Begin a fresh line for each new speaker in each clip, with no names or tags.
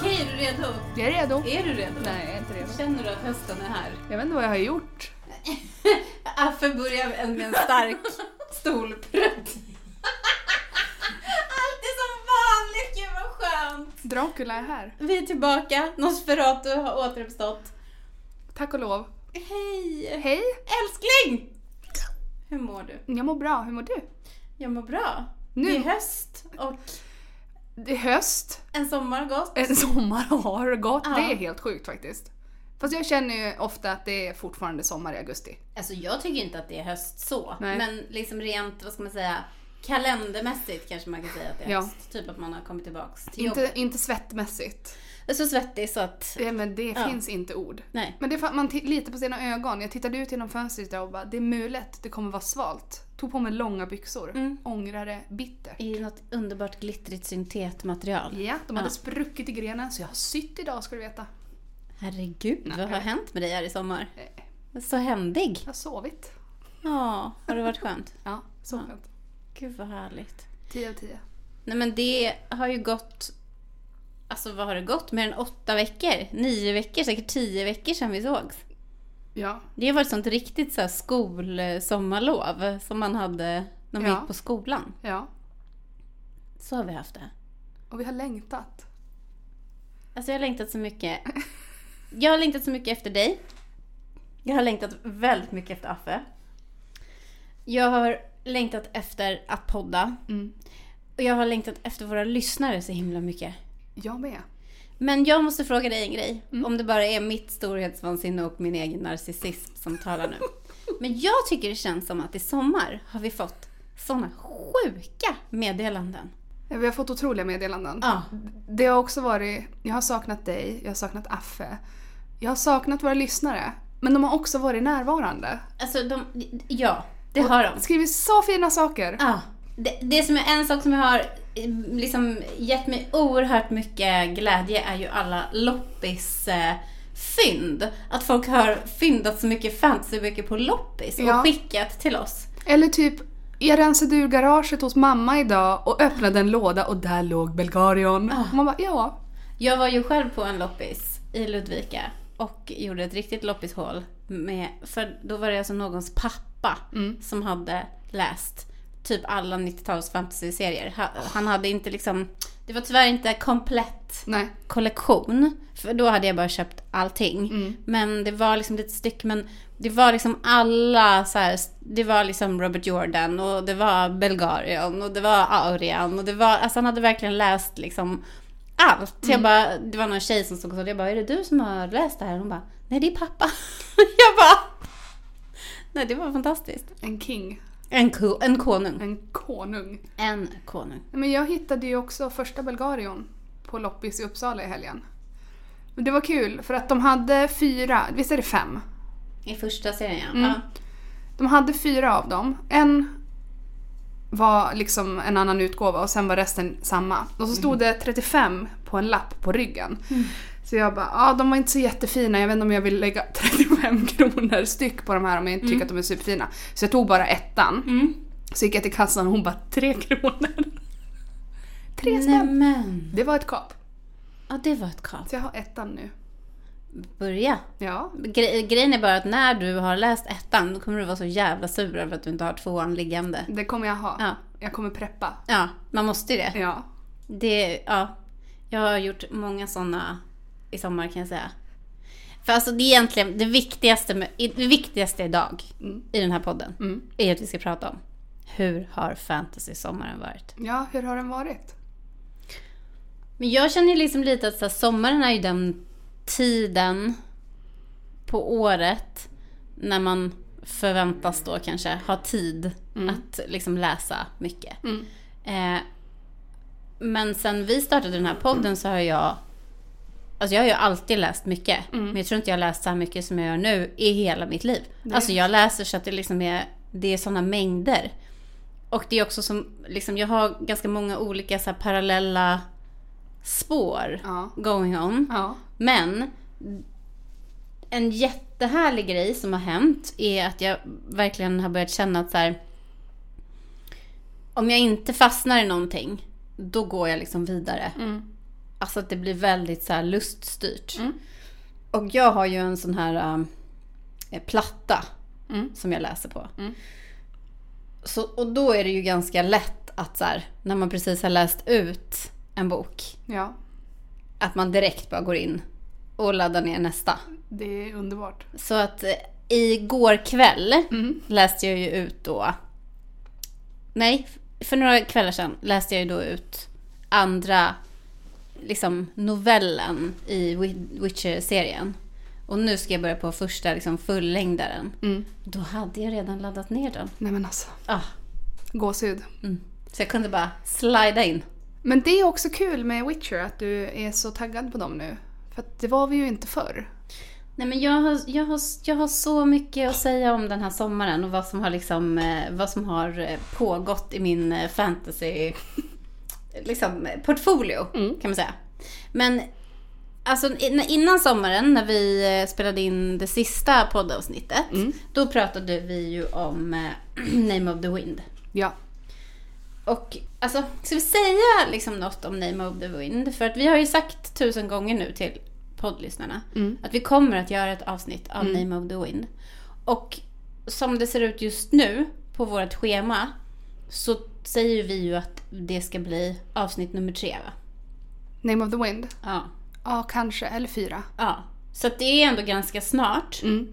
redo?
Jag är redo.
Är du redo?
Nej, jag är inte redo.
Känner du att hösten är här?
Jag vet inte vad jag har gjort.
Affe börjar med en- med en stark stolprutt. Allt är som vanligt, gud vad skönt!
Dracula är här.
Vi är tillbaka, Nosferatu har återuppstått.
Tack och lov.
Hej!
Hej!
Älskling! Hur mår du?
Jag mår bra, hur mår du?
Jag mår bra. Det är
Nu,
höst och
det är höst,
en sommar har gått.
en sommar har gått.
Ja.
Det är helt sjukt faktiskt. Fast jag känner ju ofta att det är fortfarande sommar i augusti.
Alltså jag tycker inte att det är höst så.
Nej.
Men liksom rent, vad ska man säga, kalendermässigt kanske man kan säga att det är
Ja.
höst. Typ att man har kommit tillbaks till jobbet.
Inte, inte svettmässigt.
Jag är så svettig så att,
Ja, men det
Ja.
finns inte ord.
nej.
Men det är för att man t- litar på sina ögon. Jag tittade ut genom fönstret där och bara, det är mulet, det kommer vara svalt. Tog på mig långa byxor.
Mm.
Ångrade bittert.
I något underbart glittrigt syntetmaterial.
Ja, de hade
Ja.
spruckit i grenen så jag har sytt idag ska du veta.
Herregud, vad har hänt med dig här i sommar?
Eh,
Så händig.
Jag har sovit.
Ja, har det varit skönt?
Ja, så
Ja.
skönt.
Gud vad härligt.
10 av 10.
Nej men det har ju gått, alltså vad har det gått? Mer än åtta veckor? Nio veckor? Säkert tio veckor sedan vi sågs.
Ja.
Det har varit sånt riktigt så här skolsommarlov som man hade när man
Ja.
gick på skolan.
Ja.
Så har vi haft det.
Och vi har längtat.
Alltså jag har längtat så mycket. Jag har längtat så mycket efter dig. Jag har längtat väldigt mycket efter Affe. Jag har längtat efter att podda.
Mm.
Och jag har längtat efter våra lyssnare så himla mycket.
Jag med.
Men jag måste fråga dig en grej. Om det bara är mitt storhetsvansinne och min egen narcissism som talar nu. Men jag tycker det känns som att i sommar har vi fått såna sjuka meddelanden.
Vi har fått otroliga meddelanden.
Ja.
Det har också varit, jag har saknat dig, jag har saknat Affe. Jag har saknat våra lyssnare. Men de har också varit närvarande.
Alltså de, ja, det har de.
Skrivit så fina saker.
Ja. Det, det som är en sak som jag har eh, liksom gett mig oerhört mycket glädje är ju alla loppis eh, fynd. Att folk har fyndat så mycket fantasyböcker på loppis och
Ja.
skickat till oss.
Eller typ, jag rensade ur garaget hos mamma idag och öppnade en låda och där låg Belgarion.
Ah.
Och man bara, ja.
Jag var ju själv på en loppis i Ludvika och gjorde ett riktigt loppishål. Med, för då var det alltså någons pappa som hade läst typ alla 90-tals fantasyserier. Ha- Han hade inte liksom, det var tyvärr inte komplett
Nej.
kollektion. För då hade jag bara köpt allting.
Mm.
Men det var liksom lite styck, men det var liksom alla så här, det var liksom Robert Jordan och det var Belgarion och det var Aurian och det var, alltså han hade verkligen läst liksom allt.
Mm.
Jag bara, det var någon tjej som stod och sa, jag bara, är det du som har läst det här? Hon bara, nej det är pappa. jag bara, nej det var fantastiskt.
En king.
En, ko, en konung.
En konung.
En konung.
Men jag hittade ju också första Belgarion på loppis i Uppsala i helgen. Men det var kul för att de hade fyra, visst är det fem?
I första serien ja.
Mm.
ja.
De hade fyra av dem. En var liksom en annan utgåva och sen var resten samma. Och så stod det 35 på en lapp på ryggen. Så jag bara, ja de var inte så jättefina, jag vet inte om jag vill lägga 35 kronor styck på de här om jag inte tycker att de är superfina. Så jag tog bara ettan. Så gick jag till kassan och hon bara, tre kronor. tre
Nej,
spänn.
men.
Det var ett kap.
Ja det var ett kap.
Så jag har ettan nu.
Börja.
Ja.
Gre- grejen är bara att när du har läst ettan då kommer du vara så jävla sur över att du inte har tvåan liggande.
Det kommer jag ha.
Ja,
Jag kommer preppa.
ja man måste ju det.
Ja.
det ja. Jag har gjort många sådana i sommar kan jag säga. För alltså det är egentligen det viktigaste, med, det viktigaste idag
Mm.
i den här podden
Mm.
är att vi ska prata om hur har fantasy-sommaren varit?
Ja, hur har den varit?
Men jag känner ju liksom lite att så här, sommaren är ju den tiden på året när man förväntas då kanske ha tid att liksom läsa mycket.
Mm.
Eh, men sen vi startade den här podden så har jag Alltså jag har ju alltid läst mycket. Men jag tror inte jag har läst så här mycket som jag gör nu i hela mitt liv. Alltså jag läser så att det liksom är, det är sådana mängder. Och det är också som, liksom jag har ganska många olika så här parallella spår
Ja.
going on.
Ja.
Men en jättehärlig grej som har hänt är att jag verkligen har börjat känna att så här,
Mm.
om jag inte fastnar i någonting, då går jag liksom vidare. Alltså att det blir väldigt så här luststyrt. Och jag har ju en sån här eh, platta
Mm.
som jag läser på.
Mm.
Så, och då är det ju ganska lätt att så här, när man precis har läst ut en bok,
Ja,
att man direkt bara går in och laddar ner nästa.
det är underbart.
Så att eh, igår kväll
Mm.
läste jag ju ut då... Nej, för några kvällar sedan läste jag ju då ut andra liksom, novellen i Wi- Witcher-serien. Och nu ska jag börja på första liksom, fullängdaren.
Mm.
Då hade jag redan laddat ner den.
Nej men alltså,
Ah,
gåshud.
mm. Så jag kunde bara slida in.
Men det är också kul med Witcher att du är så taggad på dem nu. För att det var vi ju inte förr.
Nej, men jag, har, jag, har, jag har så mycket att säga om den här sommaren och vad som har, liksom, eh, vad som har eh, pågått i min eh, fantasy liksom, eh, portfolio kan man säga. Men alltså, in- innan sommaren när vi eh, spelade in det sista poddavsnittet då pratade vi ju om eh, Name of the Wind.
Ja.
Och alltså, ska vi säga liksom något om Name of the Wind? För att vi har ju sagt tusen gånger nu till poddlyssnarna att vi kommer att göra ett avsnitt av Name of the Wind. Och som det ser ut just nu på vårt schema så säger ju vi ju att det ska bli avsnitt nummer tre va?
Name of the Wind.
Ja.
Ja, kanske. Eller fyra.
ja. Så att det är ändå ganska snart.
Mm.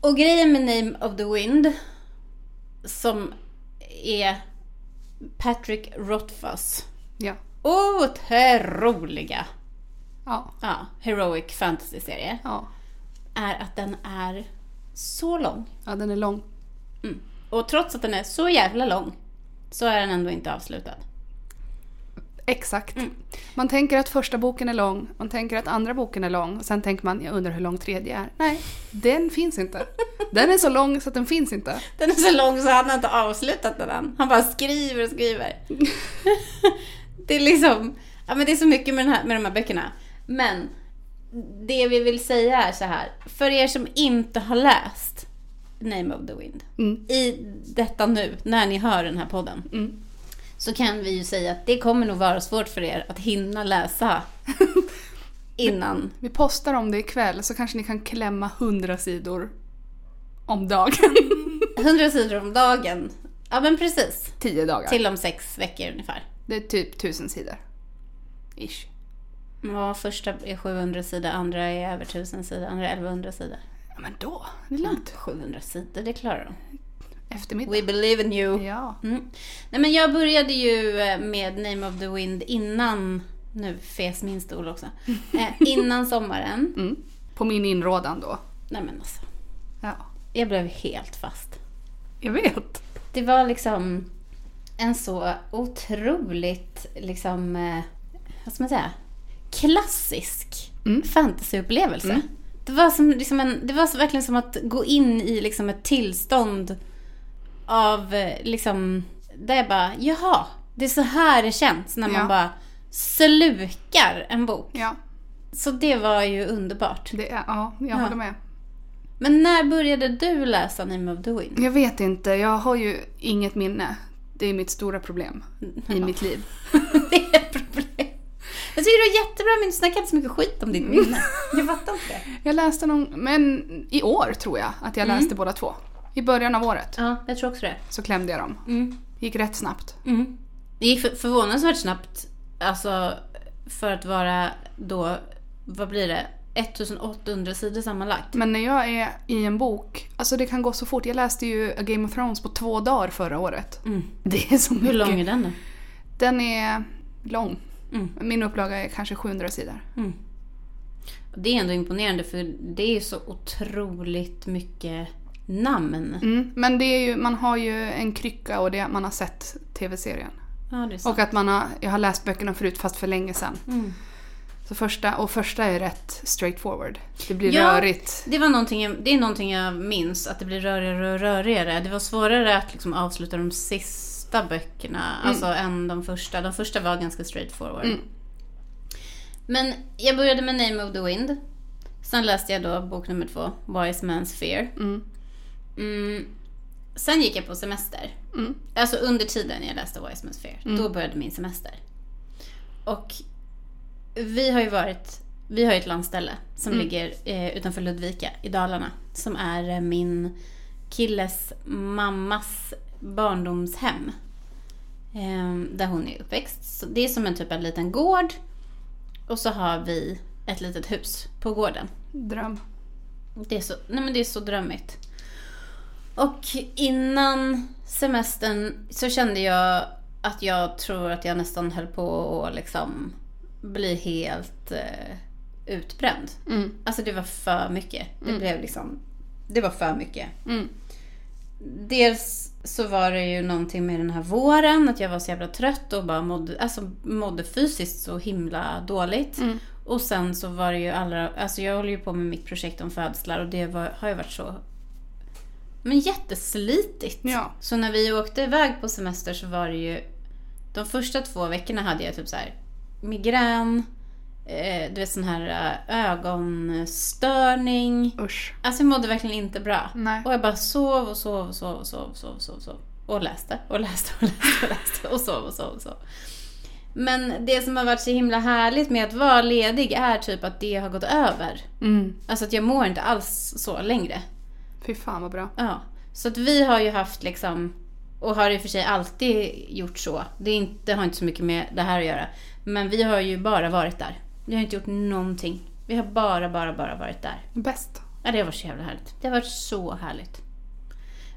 Och grejen med Name of the Wind som är Patrick Rothfuss
Ja.
otroliga
Ja.
ja, heroic fantasy-serie
Ja.
är att den är så lång.
Ja, den är lång.
Mm. Och trots att den är så jävla lång så är den ändå inte avslutad.
Exakt. Man tänker att första boken är lång, man tänker att andra boken är lång och sen tänker man, jag undrar hur lång tredje är. Nej, den finns inte. Den är så lång så att den finns inte.
Den är så lång så han har inte avslutat den än. Han bara skriver och skriver. det är liksom, ja men det är så mycket med, den här, med de här böckerna. Men det vi vill säga är så här, för er som inte har läst Name of the Wind
Mm.
i detta nu, när ni hör den här podden.
Mm.
Så kan vi ju säga att det kommer nog vara svårt för er att hinna läsa innan.
Vi postar om det ikväll så kanske ni kan klämma hundra sidor om dagen.
100 sidor om dagen. Ja men precis.
Tio dagar.
Till om sex veckor ungefär.
Det är typ tusen sidor. Ish.
Ja, första är 700 sidor, andra är över 1000 sidor, andra är 1100 sidor.
Ja, men då. Det är lugnt.
700 sidor, det klarar de.
Eftermiddag.
We believe in you.
Ja.
Mm. Nej men jag började ju eh, med Name of the Wind innan, nu fes min stol också, eh, innan sommaren.
Mm. På min inrådan då.
Nej men alltså,
Ja.
jag blev helt fast.
Jag vet.
Det var liksom en så otroligt, liksom, eh, vad ska man säga, klassisk
Mm.
fantasyupplevelse. Det, var som, liksom en, det var så verkligen som att gå in i liksom ett tillstånd av, eh, liksom, där jag bara, jaha, det är så här det känns när man
Ja.
bara slukar en bok.
Ja,
Så det var ju underbart.
det är, ja jag håller med.
Men när började du läsa Name of the Wind?
Jag vet inte, jag har ju inget minne. Det är mitt stora problem i mitt liv.
Det är ett problem. Jag tycker det var jättebra men du snackar inte så mycket skit om ditt minne. Jag fattar inte Mm. det.
Jag läste någon, men i år tror jag att jag läste båda två. I början av året
Ja, jag tror också det.
så klämde jag dem.
Mm.
Gick rätt snabbt.
Mm. Det gick för, förvånansvärt snabbt. Alltså, för att vara då, vad blir det? 1800 sidor sammanlagt.
Men när jag är i en bok, alltså det kan gå så fort. Jag läste ju A Game of Thrones på två dagar förra året.
Mm.
Det är så mycket.
Hur lång är den då?
Den är lång.
Mm.
Min upplaga är kanske 700 sidor.
Mm. Och Det är ändå imponerande för det är ju så otroligt mycket namn.
Mm. Men det är ju, man har ju en krycka och det, man har sett tv-serien.
Ja, det är så.
Och att man har, jag har läst böckerna förut fast för länge sedan.
Mm.
Så första, och första är rätt straightforward. Det blir
Ja.
rörigt.
Det, var någonting jag, det är någonting jag minns, att det blir rörigare och rörigare. Det var svårare att liksom avsluta de sista böckerna alltså, än de första. De första var ganska straightforward.
Mm.
Men jag började med Name of the Wind. Sen läste jag då bok nummer två, Wise Man's Fear.
Mm.
Mm. Sen gick jag på semester.
Mm.
Alltså under tiden jag läste Wise Man's Fear. Då började min semester. Och vi har ju varit, vi har ju ett landställe som ligger eh, utanför Ludvika i Dalarna. Som är eh, min killes mammas barndomshem. Eh, där hon är uppväxt. Så det är som en typ av liten gård. Och så har vi ett litet hus på gården.
Dröm.
Det är så, nej men det är så drömmigt. Och innan semestern så kände jag att jag tror att jag nästan höll på att liksom bli helt eh, utbränd.
Mm.
Alltså det var för mycket. Det blev liksom, det var för mycket.
Mm.
Dels så var det ju någonting med den här våren, att jag var så jävla trött och bara mådde, alltså, mådde fysiskt så himla dåligt.
Mm.
Och sen så var det ju alla, alltså jag håller ju på med mitt projekt om födslar och det var, har ju varit så men jätteslitigt.
Ja.
Så när vi åkte iväg på semester så var det ju de första två veckorna hade jag typ så här migrän, eh, du vet sån här eh, ögonstörning.
Usch.
Alltså jag mådde verkligen inte bra.
Nej.
Och jag bara sov och sov och sov och sov och sov och sov och, sov. och läste och läste och läste och läste och sov och sov och sov. Men det som har varit så himla härligt med att vara ledig är typ att det har gått över.
Mm.
Alltså att jag mår inte alls så längre.
Fy fan vad bra.
Ja. Så att vi har ju haft liksom, och har i och för sig alltid gjort så. Det, är inte, det har inte så mycket med det här att göra. Men vi har ju bara varit där. Vi har inte gjort någonting. Vi har bara, bara, bara varit där.
Bäst.
Ja, det har varit så jävla härligt. Det har varit så härligt.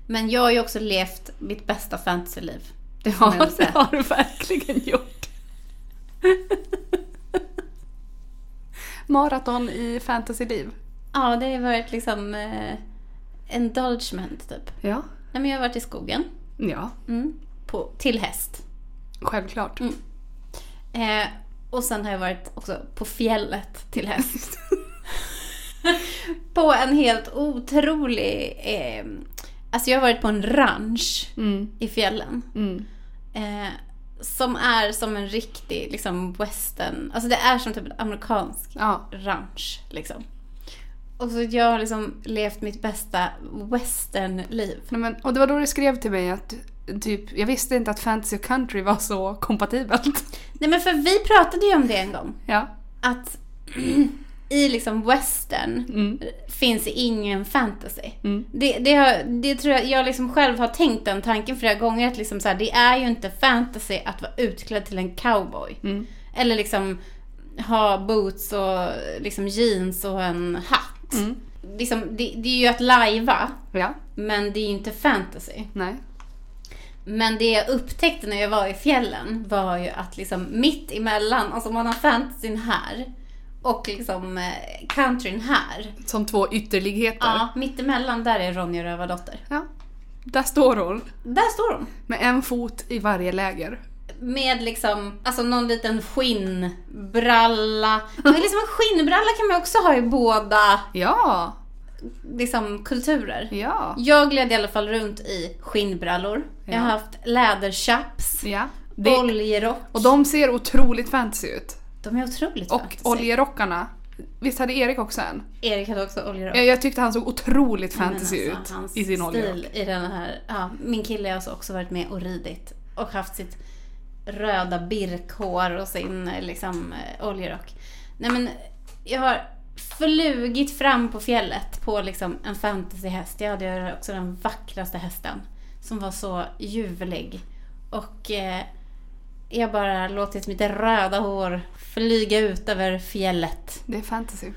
Men jag har ju också levt mitt bästa fantasyliv. Det får man ändå säga.
har du verkligen gjort. Maraton i fantasyliv.
Ja, det har varit liksom eh, indulgement typ.
Ja.
Nej, men jag har varit i skogen.
Ja,
Mm. På, till häst.
självklart.
Eh, och sen har jag varit också på fjället till häst. på en helt otrolig... Eh, alltså jag har varit på en ranch
Mm.
i fjällen.
Mm.
Eh, som är som en riktig liksom western, alltså det är som typ en amerikansk
Ja.
ranch liksom. Och så jag har liksom levt mitt bästa westernliv.
Nej, men, och det var då du skrev till mig att typ, jag visste inte att fantasy och country var så kompatibelt.
Nej men för vi pratade ju om det en gång,
Ja.
att i liksom western
Mm.
finns ingen fantasy.
Mm.
Det, det, har, det tror jag, jag liksom själv har tänkt den tanken flera gånger att liksom så här, det är ju inte fantasy att vara utklädd till en cowboy.
Mm.
Eller liksom ha boots och liksom jeans och en hatt.
Mm.
Liksom, det, det är ju att lajva,
Ja.
men det är ju inte fantasy.
Nej.
Men det jag upptäckte när jag var i fjällen var ju att liksom mitt emellan, alltså man har fantasyn här och liksom eh, countryn här.
Som två ytterligheter.
Ja, mitt emellan där är Ronja Rövardotter.
ja. Där står hon.
Där står hon.
Med en fot i varje läger.
Med liksom, alltså någon liten skinnbralla. Men liksom en skinnbralla kan man också ha i båda
Ja.
liksom, kulturer.
Ja.
Jag gled i alla fall runt i skinnbrallor. Jag har
Ja.
haft läderchaps,
Ja. Det,
oljerock.
och de ser otroligt fancy ut.
De är otroligt
Och
fantasy.
oljerockarna. Visst hade Erik också en?
Erik hade också oljerock.
Jag, jag tyckte han såg otroligt fantasy
Men alltså, hans
ut i sin oljerock.
stil i den här. Ja, min kille har alltså också varit med och ridit och haft sitt röda birkhår och sin eh, liksom, eh, oljerock. Nej men, jag har flugit fram på fjället på liksom en fantasyhäst. Jag hade ju också den vackraste hästen som var så ljuvlig. Och eh, jag bara låtit mitt röda hår flyga ut över fjället.
Det är fantasy.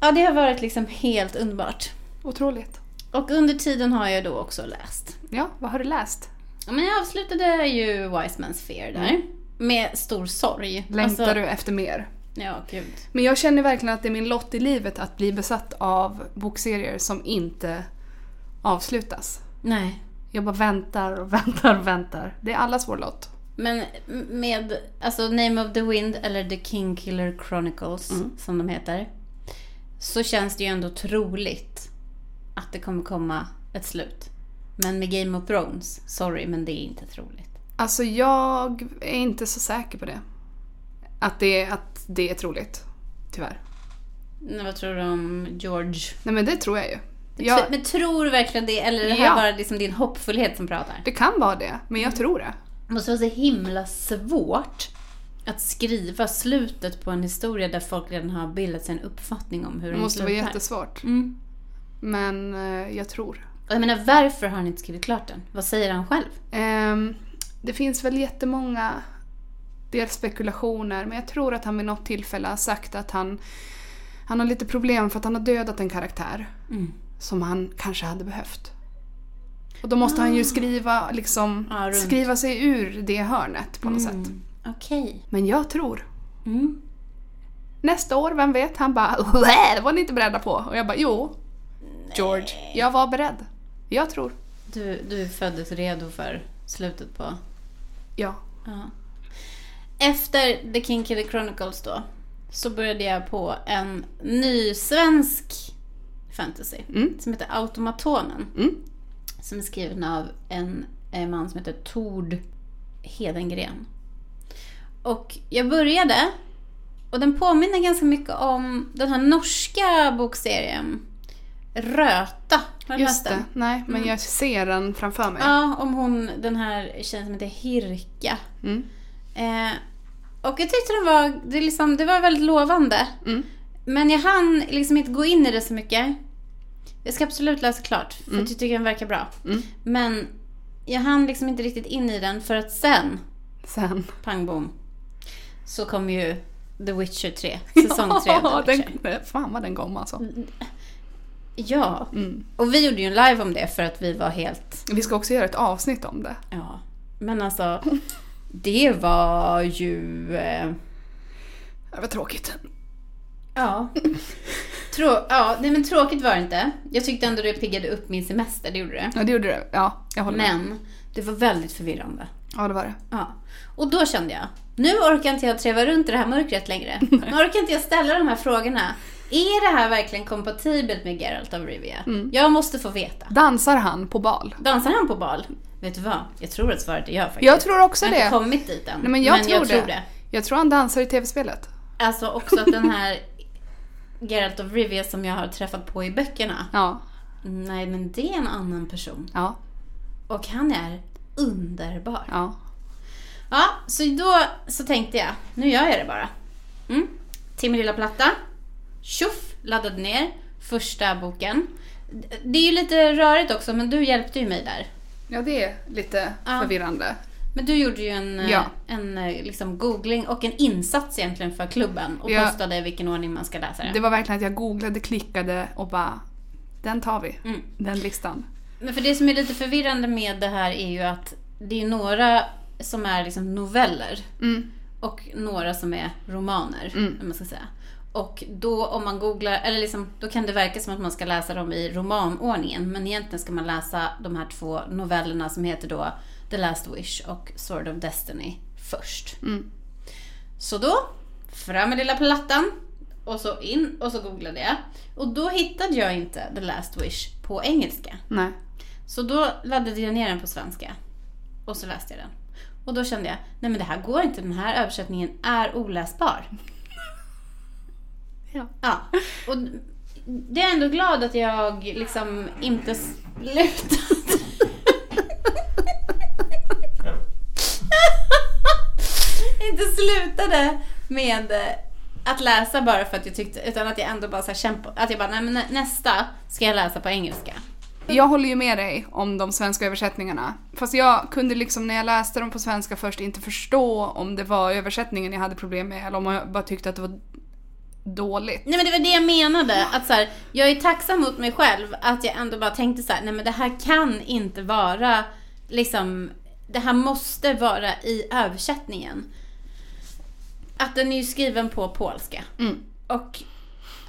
Ja, det har varit liksom helt underbart.
Otroligt.
Och under tiden har jag då också läst.
Ja, vad har du läst?
Ja, Men jag avslutade ju Wise Man's Fear där. Med stor sorg.
Längtar
Alltså-
du efter mer?
Ja, gud.
Men jag känner verkligen att det är min lott i livet att bli besatt av bokserier som inte avslutas.
Nej.
Jag bara väntar och väntar och väntar. Det är allas vår lott.
Men med alltså Name of the Wind eller The King Killer Chronicles som de heter. Så känns det ju ändå troligt att det kommer komma ett slut. Men med Game of Thrones, sorry men det är inte troligt.
Alltså jag är inte så säker på det. Att det, att det är troligt. Tyvärr.
Men vad tror du om George?
Nej men det tror jag ju. Jag,
Jag... Men tror du verkligen det eller är det här
Ja.
bara liksom din hoppfullhet som pratar?
Mm. det kan vara det, men jag tror det.
Det måste vara så himla svårt att skriva slutet på en historia där folk redan har bildat sig en uppfattning om hur
Det
den
måste
slutar.
vara jättesvårt.
Mm.
Men eh, jag tror.
Och Jag menar, varför har han inte skrivit klart den? Vad säger han själv?
Ehm, det finns väl jättemånga dels spekulationer men jag tror att han vid något tillfälle har sagt att han, han har lite problem för att han har dödat en karaktär som han kanske hade behövt. Och då måste han ju skriva, liksom,
Ja, Ah. runt. Mm.
skriva sig ur det hörnet på något sätt.
Okej.
Men jag tror.
Mm.
Nästa år, vem vet? Han bara "Wä, det var ni inte beredda på. Och jag bara jo. George, jag var beredd. Jag tror.
Du, du föddes redo för slutet på...
Ja.
Ja. Efter The King Killer Chronicles då, så började jag på en ny svensk fantasy
Mm.
som heter Automatonen.
Mm.
Som är skriven av en eh, man som heter Tord Hedengren. Och jag började, och den påminner ganska mycket om den här norska bokserien Röta. Har du läst
Just
den?
det. Nej,
Mm.
men jag ser den framför mig.
Ja, om hon, den här tjejen som heter Hirka.
Mm.
Eh, och jag tyckte den var, det, liksom, det var väldigt lovande.
Mm.
Men jag hann liksom inte gå in i det så mycket. Jag ska absolut läsa klart, för jag tycker den verkar bra.
Mm.
Men jag hann liksom inte riktigt in i den för att sen,
Sen.
pang bom, så kom ju The Witcher 3. Säsong Mm. 3
ja,
av The Witcher.
den, Fan vad den kom alltså.
Ja,
Mm.
och vi gjorde ju en live om det för att vi var helt
Vi ska också göra ett avsnitt om det.
Ja, men alltså det var ju... eh,
Det var tråkigt.
Ja. Trå ja, nej men tråkigt var det inte. Jag tyckte ändå det piggade upp min semester, det gjorde det.
Ja, det gjorde det. Ja, jag håller med.
Men det var väldigt förvirrande.
Ja, det var det.
Ja. Och då kände jag, nu orkar inte jag träva runt i det här mörkret längre. Nu orkar inte jag ställa de här frågorna. Är det här verkligen kompatibelt med Geralt av Rivia?
Mm.
Jag måste få veta.
Dansar han på bal?
Dansar han på bal? Vet du vad? Jag tror att svaret är ja faktiskt.
Jag tror också
jag har
det.
inte kommit dit än.
Nej, men jag, tror, det.
tror det.
Jag tror han dansar i tv-spelet.
Alltså också att den här Geralt of Rivia som jag har träffat på i böckerna.
Ja.
Nej, men det är en annan person.
Ja.
Och han är underbar.
Ja.
Ja, så då så tänkte jag, nu gör jag det bara. Mm. Timmer lilla platta. Tjoff, laddade ner första boken. Det är ju lite rörigt också, men du hjälpte ju mig där.
Ja, det är lite
Ja.
förvirrande.
Men du gjorde ju en, eh,
Ja.
en eh, liksom googling och en insats egentligen för klubben och
Ja.
postade i vilken ordning man ska läsa det.
Det var verkligen att jag googlade, klickade och bara den tar vi.
Mm.
Den listan.
Men för det som är lite förvirrande med det här är ju att det är några som är liksom noveller
Mm.
och några som är romaner.
Mm.
Om man ska säga. Och då om man googlar, eller liksom, då kan det verka som att man ska läsa dem i romanordningen. Men egentligen ska man läsa de här två novellerna som heter då The Last Wish och Sword of Destiny först.
Mm.
Så då, fram med lilla plattan och så in och så googlade jag. Och då hittade jag inte The Last Wish på engelska.
Nej.
Så då laddade jag ner den på svenska. Och så läste jag den. Och då kände jag, nej men det här går inte, den här översättningen är oläsbar.
Ja.
Ja. Och det är ändå glad att jag liksom inte slutade. inte slutade med eh, att läsa bara för att jag tyckte, utan att jag ändå bara så här kämpa, att jag bara, nej men nä- nästa ska jag läsa på engelska.
Jag håller ju med dig om de svenska översättningarna. Fast jag kunde liksom när jag läste dem på svenska först inte förstå om det var översättningen jag hade problem med eller om jag bara tyckte att det var dåligt.
Nej men det var det jag menade. Att så här, jag är tacksam mot mig själv att jag ändå bara tänkte så här, nej men det här kan inte vara liksom, det här måste vara i översättningen. Att den är ju skriven på polska.
Mm.
Och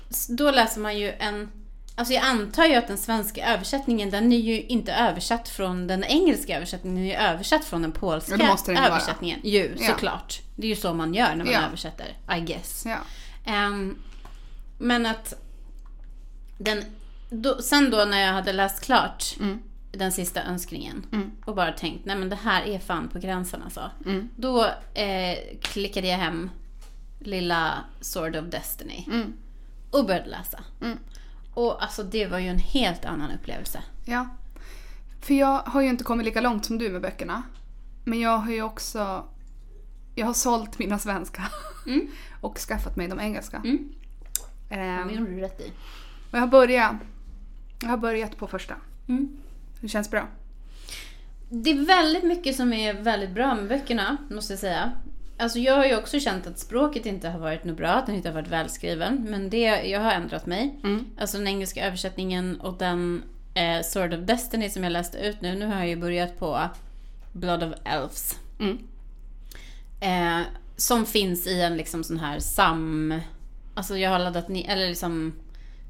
s- då läser man ju en, alltså jag antar ju att den svenska översättningen den är ju inte översatt från den engelska översättningen, den är ju översatt från den polska
Ja, det måste den ju vara.
översättningen. Ju,
Ja.
såklart. Det är ju så man gör när man
Ja.
översätter, I guess.
Ja.
Ehm, men att den, då, sen då när jag hade läst klart
Mm.
den sista önskningen
Mm.
och bara tänkt, nej men det här är fan på gränsen alltså.
Mm.
Då eh, klickade jag hem lilla Sword of Destiny
Mm.
och började läsa.
Mm.
Och alltså det var ju en helt annan upplevelse.
Ja. För jag har ju inte kommit lika långt som du med böckerna. Men jag har ju också jag har sålt mina svenska
Mm.
och skaffat mig de engelska.
Mm.
Ehm,
Det gjorde du rätt i.
och jag har börjat. Jag har börjat på första.
Mm.
Det känns bra.
Det är väldigt mycket som är väldigt bra med böckerna, måste jag säga. Alltså jag har ju också känt att språket inte har varit något bra, att den inte har varit välskriven. Men det, jag har ändrat mig. Alltså den engelska översättningen och den eh, Sword of Destiny som jag läste ut nu. Nu har jag ju börjat på Blood of Elves.
Mm.
Eh, som finns i en liksom sån här sam... Alltså jag har laddat ner, eller liksom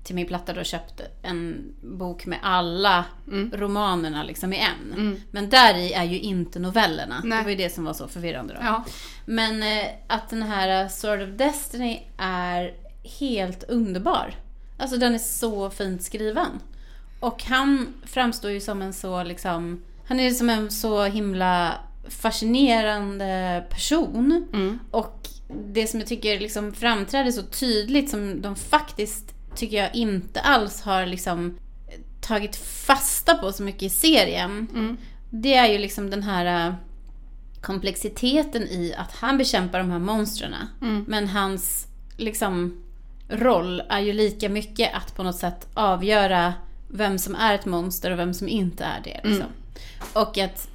till min platta då köpt en bok med alla romanerna liksom i en. Men där i är ju inte novellerna.
Nej.
Det var ju det som var så förvirrande då.
Ja.
Men eh, att den här eh, Sword of Destiny är helt underbar. Alltså den är så fint skriven. Och han framstår ju som en så liksom, han är som en så himla fascinerande person.
Mm.
Och det som jag tycker liksom framträder så tydligt som de faktiskt tycker jag inte alls har liksom tagit fasta på så mycket i serien. Det är ju liksom den här eh, komplexiteten i att han bekämpar de här monstren. Men hans liksom, roll är ju lika mycket att på något sätt avgöra vem som är ett monster och vem som inte är det. Liksom. Och att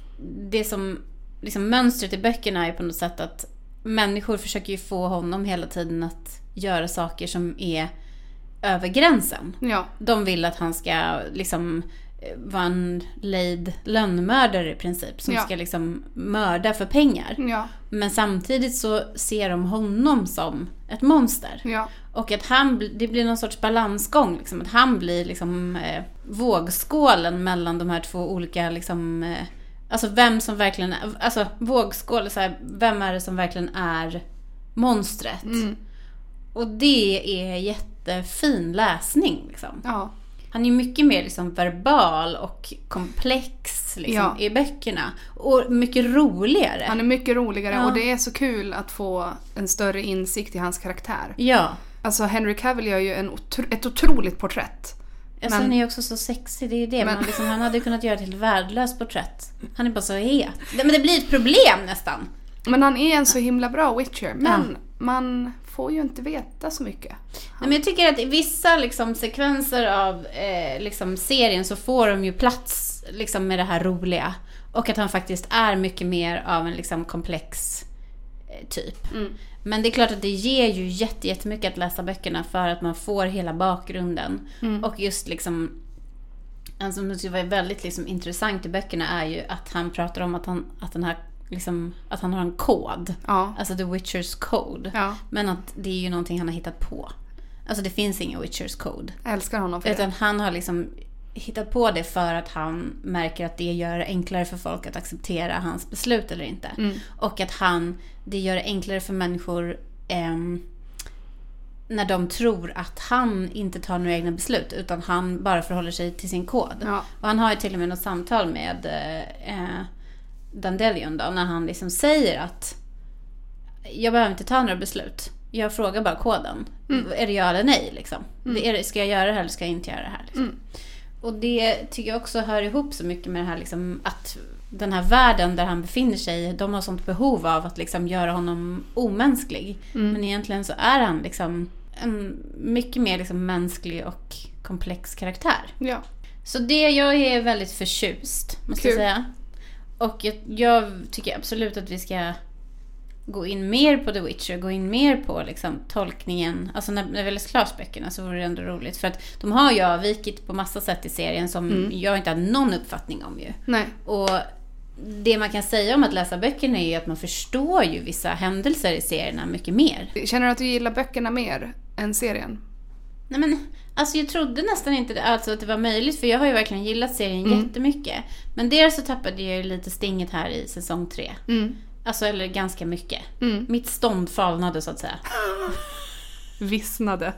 det som liksom, mönstret i böckerna är på något sätt att människor försöker ju få honom hela tiden att göra saker som är över gränsen.
Ja.
De vill att han ska liksom eh, vara en lejd lönnmördare i princip som
Ja. Mm.
ska liksom mörda för pengar.
Ja.
Men samtidigt så ser de honom som ett monster.
Ja.
Och att han, bl- det blir någon sorts balansgång liksom. Att han blir liksom eh, vågskålen mellan de här två olika liksom eh, Alltså vem som verkligen, är- alltså vågskål, så här, vem är det som verkligen är monstret?
Mm.
Och det är jättefin läsning liksom.
Ja.
Han är mycket mer liksom verbal och komplex liksom,
Ja.
i böckerna. Och mycket roligare.
Han är mycket roligare
Ja.
och det är så kul att få en större insikt i hans karaktär.
Ja.
Alltså Henry Cavill gör ju en otro, ett otroligt porträtt.
Alltså,
Men-
han är ju också så sexig, det är ju det. Men,
Men-
liksom, han hade ju kunnat göra ett helt värdelöst porträtt. Han är bara så het. Nej, men det blir ett problem nästan.
Men han är en så himla bra witcher. Men man får ju inte veta så mycket.
Nej, men jag tycker att i vissa liksom, sekvenser av eh, liksom, serien så får de ju plats liksom, med det här roliga. Och att han faktiskt är mycket mer av en liksom, komplex eh, typ. Men det är klart att det ger ju jätte- jättemycket att läsa böckerna för att man får hela bakgrunden. Och just liksom En som jag tycker var väldigt liksom, intressant i böckerna är ju att han pratar om att han, att den här, liksom, att han har en kod.
Ja.
Alltså the Witchers code.
Ja.
Men att det är ju någonting han har hittat på. Alltså det finns ingen Witchers code.
Jag älskar honom för det.
Utan han har liksom hittat på det för att han märker att det gör det enklare för folk att acceptera hans beslut eller inte.
Mm.
Och att han, det gör det enklare för människor ehm, när de tror att han inte tar några egna beslut utan han bara förhåller sig till sin kod.
Ja.
Och han har ju till och med något samtal med eh, eh, Dandelion då när han liksom säger att jag behöver inte ta några beslut. Jag frågar bara koden. Är det ja eller nej liksom? Det- Är det, ska jag göra det här eller ska jag inte göra det här?
Mm.
Liksom? Och det tycker jag också hör ihop så mycket med det här liksom, att den här världen där han befinner sig, de har sånt behov av att liksom göra honom omänsklig.
Mm.
Men egentligen så är han liksom en mycket mer liksom mänsklig och komplex karaktär.
Ja.
Så det, jag är väldigt förtjust, måste jag
Kul.
säga. Och jag, jag tycker absolut att vi ska gå in mer på The Witcher, gå in mer på liksom, tolkningen. Alltså när, när vi läser klart böckerna så vore det ändå roligt. För att de har ju avvikit på massa sätt i serien som jag inte hade någon uppfattning om ju.
Nej.
Och det man kan säga om att läsa böckerna är ju att man förstår ju vissa händelser i serierna mycket mer.
Känner du att du gillar böckerna mer än serien?
Nej men, alltså jag trodde nästan inte det, alltså att det var möjligt för jag har ju verkligen gillat serien jättemycket. Men dels så tappade jag ju lite stinget här i säsong tre.
Mm.
Alltså eller ganska mycket.
Mm.
Mitt stånd falnade så att säga.
Vissnade.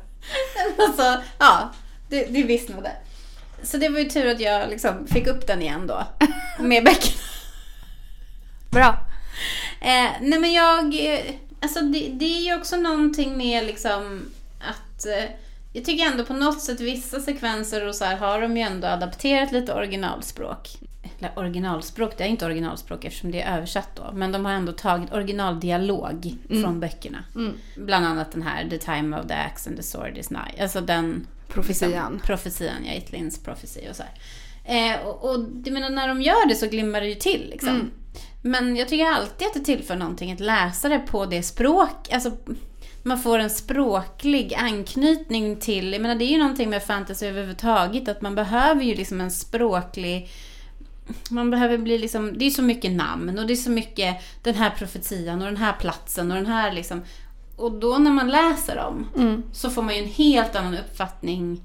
alltså, ja. Det, det vissnade. Så det var ju tur att jag liksom fick upp den igen då. Med bäcken.
Bra.
Eh, nej men jag, eh, alltså det, det är ju också någonting med liksom att eh, jag tycker ändå på något sätt vissa sekvenser och så här har de ju ändå adapterat lite originalspråk. eller originalspråk, det är inte originalspråk eftersom det är översatt då, men de har ändå tagit originaldialog från böckerna. Bland annat den här The time of the axe and the sword is nigh. Alltså den
Profetian.
Liksom, profetian, ja, Itlins profeti och så här. Eh, och, och jag menar, när de gör det så glimmar det ju till liksom. Men jag tycker alltid att det tillför någonting att läsa det på det språk, alltså man får en språklig anknytning till, jag menar det är ju någonting med fantasy överhuvudtaget att man behöver ju liksom en språklig man behöver bli liksom, det är så mycket namn och det är så mycket den här profetian och den här platsen och den här liksom. Och då när man läser dem så får man ju en helt annan uppfattning.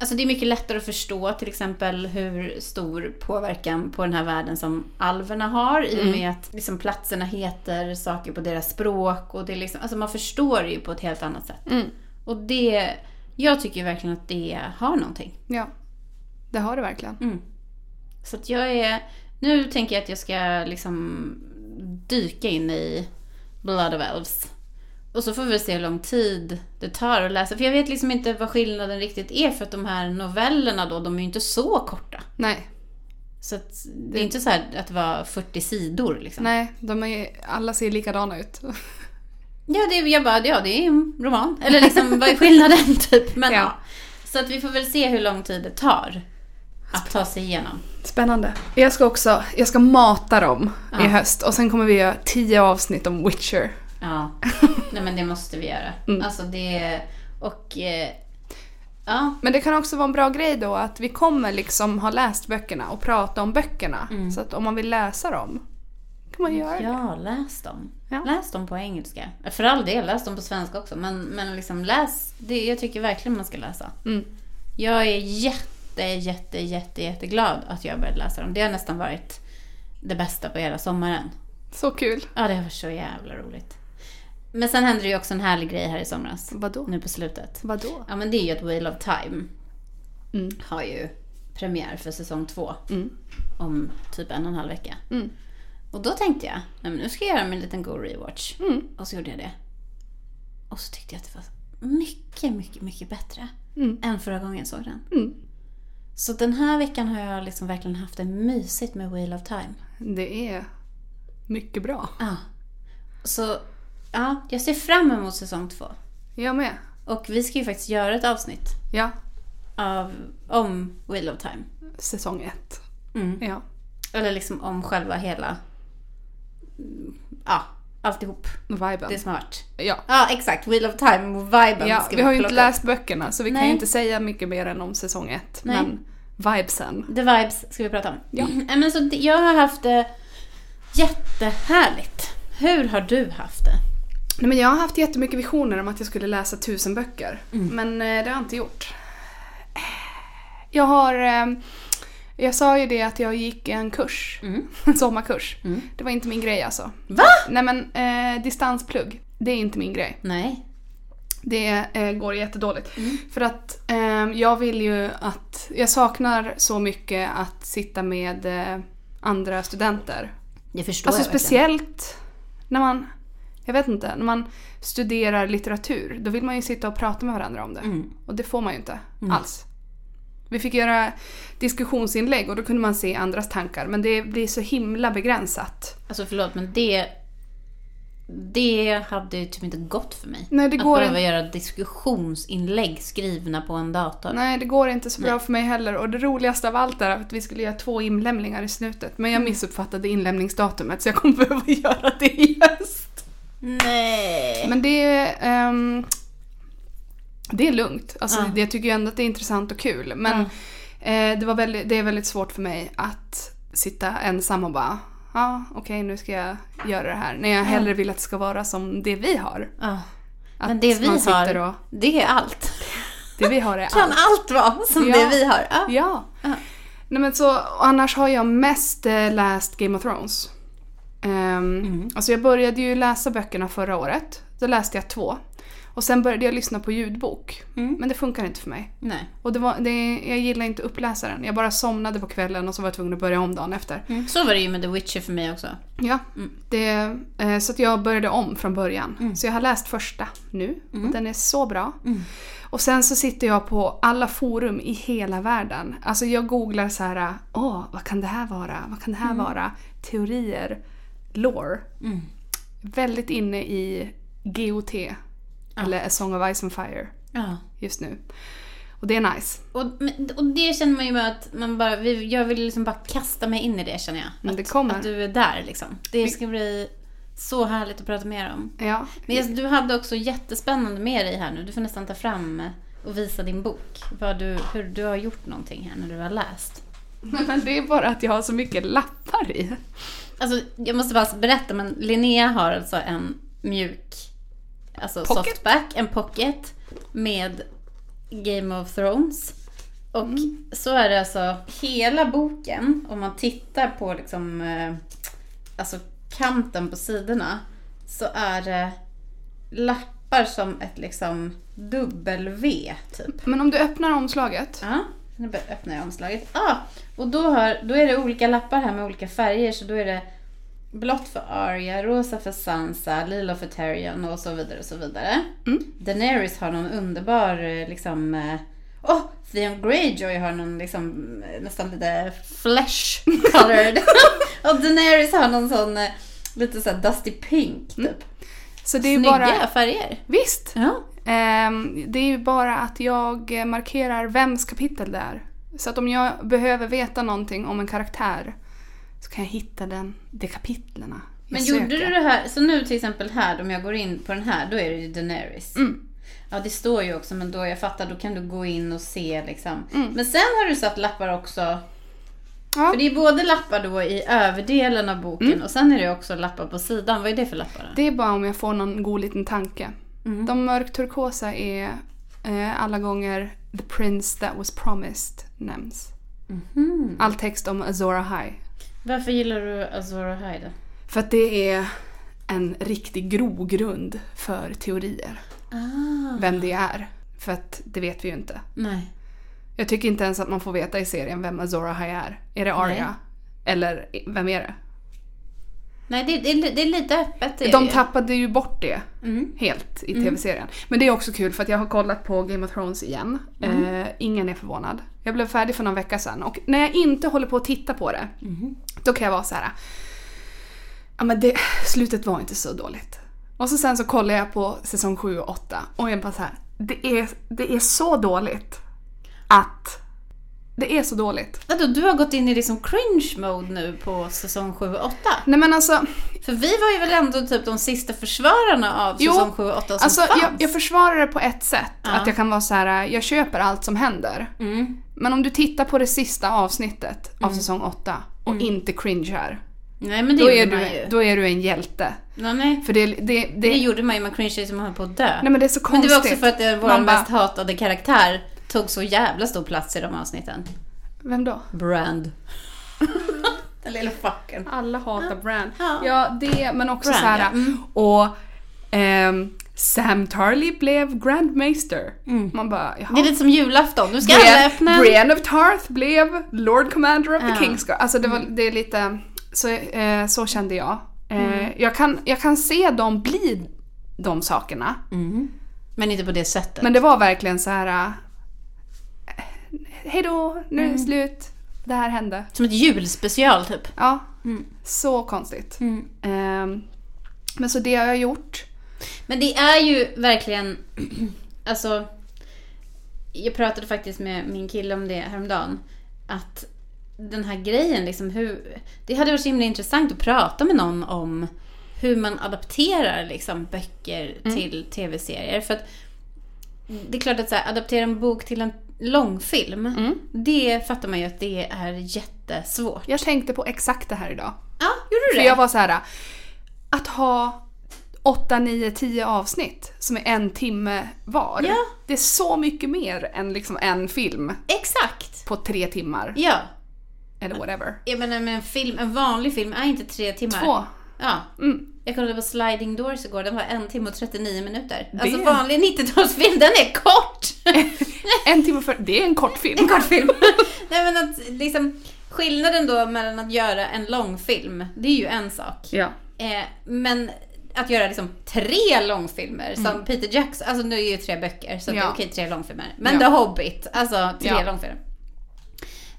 Alltså det är mycket lättare att förstå till exempel hur stor påverkan på den här världen som alverna har i och med att liksom platserna heter saker på deras språk och det är liksom, alltså man förstår det ju på ett helt annat sätt.
Mm.
Och det, jag tycker ju verkligen att det har någonting.
Ja. Det har det verkligen.
Mm. Så att jag är... Nu tänker jag att jag ska liksom dyka in i Blood of Elves. Och så får vi se hur lång tid det tar att läsa. För jag vet liksom inte vad skillnaden riktigt är för att de här novellerna då, de är ju inte så korta.
Nej.
Så att det är inte så här att det var 40 sidor liksom.
Nej, de är, alla ser likadana ut.
Ja, det, jag bara, ja det är en roman. Eller liksom, vad är skillnaden typ? Men,
Ja.
ja. Så att vi får väl se hur lång tid det tar att ta sig igenom.
Spännande. Jag ska också, jag ska mata dem i höst och sen kommer vi göra tio avsnitt om Witcher.
Ja, nej men det måste vi göra. Alltså det, och eh, ja,
Men det kan också vara en bra grej då att vi kommer liksom ha läst böckerna och prata om böckerna. Så att om man vill läsa dem kan man göra det.
ja läs dem.
Ja.
Läs dem på engelska. För all del, läs dem på svenska också. Men, men liksom läs, det, jag tycker verkligen man ska läsa.
Mm.
Jag är jätte, jätte, jätte, jätteglad att jag började läsa dem. Det har nästan varit det bästa på hela sommaren.
Så kul.
Ja, det har varit så jävla roligt. Men sen hände det ju också en härlig grej här i somras.
Vadå?
Nu på slutet.
Vadå?
Ja men det är ju att Wheel of Time
Mm.
har ju premiär för säsong två
Mm.
om typ en och en halv vecka.
Mm.
Och då tänkte jag, nej men nu ska jag göra mig en liten god rewatch.
Mm.
Och så gjorde jag det. Och så tyckte jag att det var mycket, mycket, mycket bättre
Mm.
än förra gången jag såg den.
Mm.
Så den här veckan har jag liksom verkligen haft det mysigt med Wheel of Time.
Det är mycket bra.
Ja. Så, ja, jag ser fram emot säsong två.
Jag med.
Och vi ska ju faktiskt göra ett avsnitt
Ja.
av, om Wheel of Time.
Säsong ett.
Mm.
Ja.
Eller liksom om själva hela... mm, Ja, alltihop.
Viben.
Det som har varit.
Ja.
Ja, exakt. Wheel of Time och viben
ja.
ska
Vi har ju
plocka
inte läst böckerna så vi kan
Nej.
ju inte säga mycket mer än om säsong ett.
Nej.
Men vibesen.
upp. The vibes ska vi prata om.
Ja.
Nej, Men så det- jag har haft det jättehärligt. Hur har du haft det?
Nej, men jag har haft jättemycket visioner om att jag skulle läsa tusen böcker. Men eh, det har jag inte gjort. Jag har... eh, Jag sa ju det att jag gick en kurs. En sommarkurs. Det var inte min grej alltså.
Va?
Nej men eh, distansplugg. Det är inte min grej.
Nej.
Det eh, går jättedåligt.
Mm.
För att ehm, jag vill ju att... Jag saknar så mycket att sitta med eh, andra studenter.
Jag förstår
Alltså
jag verkligen.
speciellt när man... Jag vet inte. När man studerar litteratur, då vill man ju sitta och prata med varandra om det.
Mm.
Och det får man ju inte alls. Vi fick göra diskussionsinlägg och då kunde man se andras tankar. Men det blir så himla begränsat.
Alltså förlåt men det... Det hade ju typ inte gått för mig.
Nej, det
att
går
behöva göra diskussionsinlägg skrivna på en dator.
Nej, det går inte så bra för mig heller. Och det roligaste av allt är att vi skulle göra två inlämningar i slutet. Men jag
Mm.
missuppfattade inlämningsdatumet så jag kommer behöva göra det i höst.
Nej.
Men det är... ehm, det är lugnt. Alltså,
Ja.
det- Jag tycker ju ändå att det är intressant och kul. Men eh, det, var väldigt, det är väldigt svårt för mig att sitta ensam och bara Ja, okej nu ska jag göra det här. När jag hellre vill att det ska vara som det vi har.
Ja.
Att
Men det vi
man sitter
har,
och-
det är allt.
Det vi har är
Kan allt vara som
Ja.
det vi har. Ja.
Ja.
Ja.
Nej, men så, och annars har jag mest eh, läst Game of Thrones. Ehm, Alltså jag började ju läsa böckerna förra året. Då läste jag två. Och sen började jag lyssna på ljudbok.
Mm.
Men det funkar inte för mig.
Nej.
Och det var, det, jag gillar inte uppläsaren. Jag bara somnade på kvällen och så var jag tvungen att börja om dagen efter.
Så var det ju med The Witcher för mig också.
Ja, det, eh, så att jag började om från början. Så jag har läst första nu och den är så bra. Och sen så sitter jag på alla forum i hela världen. Alltså jag googlar så här, åh vad kan det här vara? Vad kan det här vara? Teorier, lore. Väldigt inne i GOT, eller A Song of Ice and Fire
Ja.
just nu. Och det är nice.
Och, men- och det känner man ju med att man bara, vi, jag vill liksom bara kasta mig in i det känner jag.
Men det
Att-
kommer.
Att du är där liksom. Det ska bli så härligt att prata mer om.
Ja,
Men just, du hade också jättespännande med dig här nu. Du får nästan ta fram och visa din bok. Vad du, hur du har gjort någonting här när du har läst.
men det är bara att jag har så mycket lappar i.
Alltså, jag måste bara berätta, men Linnea har alltså en mjuk alltså
Pocket.
softback, en pocket med Game of Thrones. Och så är det alltså hela boken, om man tittar på liksom, eh, alltså kanten på sidorna, så är det lappar som ett liksom W typ.
Men om du öppnar omslaget.
Ja, nu bara öppnar jag omslaget. Ah, och då, har, då är det olika lappar här med olika färger. Så då är det blått för Arya, rosa för Sansa, lila för Tyrion och så vidare och så vidare.
Mm.
Daenerys har någon underbar eh, liksom... eh, Åh! Oh, Theon Greyjoy har någon liksom eh, nästan lite flesh colored. och Daenerys har någon sån eh, lite såhär dusty pink typ.
Så Mm, det är
Snygga
bara...
färger.
Visst!
Ja.
Ehm, det är ju bara att jag markerar vems kapitel det är. Så att om jag behöver veta någonting om en karaktär så kan jag hitta den, de kapitlerna jag
Men
söker.
gjorde du det här, så nu till exempel här, om jag går in på den här, då är det ju Daenerys.
Mm.
Ja, det står ju också, men då jag fattar, då kan du gå in och se liksom. Men sen har du satt lappar också,
Mm. Ja.
för det är både lappar då i överdelen av boken
Mm.
och sen är det också lappar på sidan. Vad är det för lappar? då?
Det är bara om jag får någon god liten tanke.
Mm.
De mörkturkosa är eh, alla gånger “The Prince That Was Promised” nämns.
Mm.
All text om Azora High.
Varför gillar du Azora High då?
För att det är en riktig grogrund för teorier.
Ah.
Vem det är. För att det vet vi ju inte.
Nej.
Jag tycker inte ens att man får veta i serien vem Azora Ahai är. Är det Arya?
Nej.
Eller vem är det?
Nej, det, det, det är lite öppet. det är det
De
ju.
tappade ju bort det
Mm.
helt i tv-serien. Men det är också kul för att jag har kollat på Game of Thrones igen. Eh, ingen är förvånad. Jag blev färdig för någon vecka sedan och när jag inte håller på att titta på det då kan jag vara så här. Ja men det, slutet var inte så dåligt. Och så sen så kollar jag på säsong 7 och 8 och jag bara så här. Det är, det är så dåligt att... Det är så dåligt.
Vadå, du har gått in i liksom cringe mode nu på säsong 7 och 8?
Nej men alltså,
För vi var ju väl ändå typ de sista försvararna av
Jo,
säsong 7 och 8 som
alltså
fanns?
jag, jag försvarar det på ett sätt. Att jag kan vara så här: jag köper allt som händer.
Mm.
Men om du tittar på det sista avsnittet av säsong 8 och inte cringear.
Nej men Mm. det
Då
gjorde
är,
man
du,
ju.
då är du en hjälte.
Nej, nej.
För det, det, det,
Det gjorde man ju, man cringeade som höll på att dö.
nej men det är så
men det
konstigt.
var också för att det- vår
Man bara,
mest hatade karaktär tog så jävla stor plats i de avsnitten.
Vem då?
Brand. Den lilla fucken.
Alla hatar Brand.
Ja.
Ja, det, men också
Bran,
så här.
ja. Mm.
Och ehm, Sam Tarly blev Grand Maester. Man bara, jaha.
Mm. Det är lite som julafton, nu ska
Brienne-
alla öppna.
Brienne of Tarth blev Lord Commander of
Ja. Mm.
the Kings Guard. Alltså det, var, det är lite, så, eh, så kände jag. Eh,
Mm.
jag, kan, jag kan se dem bli de sakerna.
Mm. Men inte på det sättet.
Men det var verkligen så här. eh, Hej då, nu
Mm.
är det slut. Det här hände.
Som ett julspecial typ.
Ja, så konstigt.
Mm.
Ehm, men så det har jag gjort.
Men det är ju verkligen, alltså, jag pratade faktiskt med min kille om det häromdagen. Att den här grejen, liksom, hur, det hade varit så himla intressant att prata med någon om hur man adapterar liksom, böcker till tv-serier. För att det är klart att så här, adaptera en bok till en långfilm, det fattar man ju att det är jättesvårt.
Jag tänkte på exakt det här idag.
Ja, gjorde du
För
det?
jag var så här. Att ha 8, 9, 10 avsnitt som är en timme var.
Ja.
Det är så mycket mer än liksom en film
Exakt!
på tre timmar.
Ja.
Eller whatever.
Jag menar, men en, film, en vanlig film är inte tre timmar.
Två.
Ja.
Mm.
Jag kollade på Sliding Doors igår, den var en timme och 39 minuter.
Det-
Alltså vanlig 90-talsfilm, den är kort!
En timme för... Det är en kortfilm.
En kort film. Nej men att liksom, skillnaden då mellan att göra en lång film, det är ju en sak.
Ja.
Eh, men att göra liksom tre långfilmer som Peter Jackson, alltså nu är det ju tre böcker så det är
Mm. Ja.
okej tre långfilmer. Men
Ja.
The Hobbit, alltså tre
Ja.
långfilmer.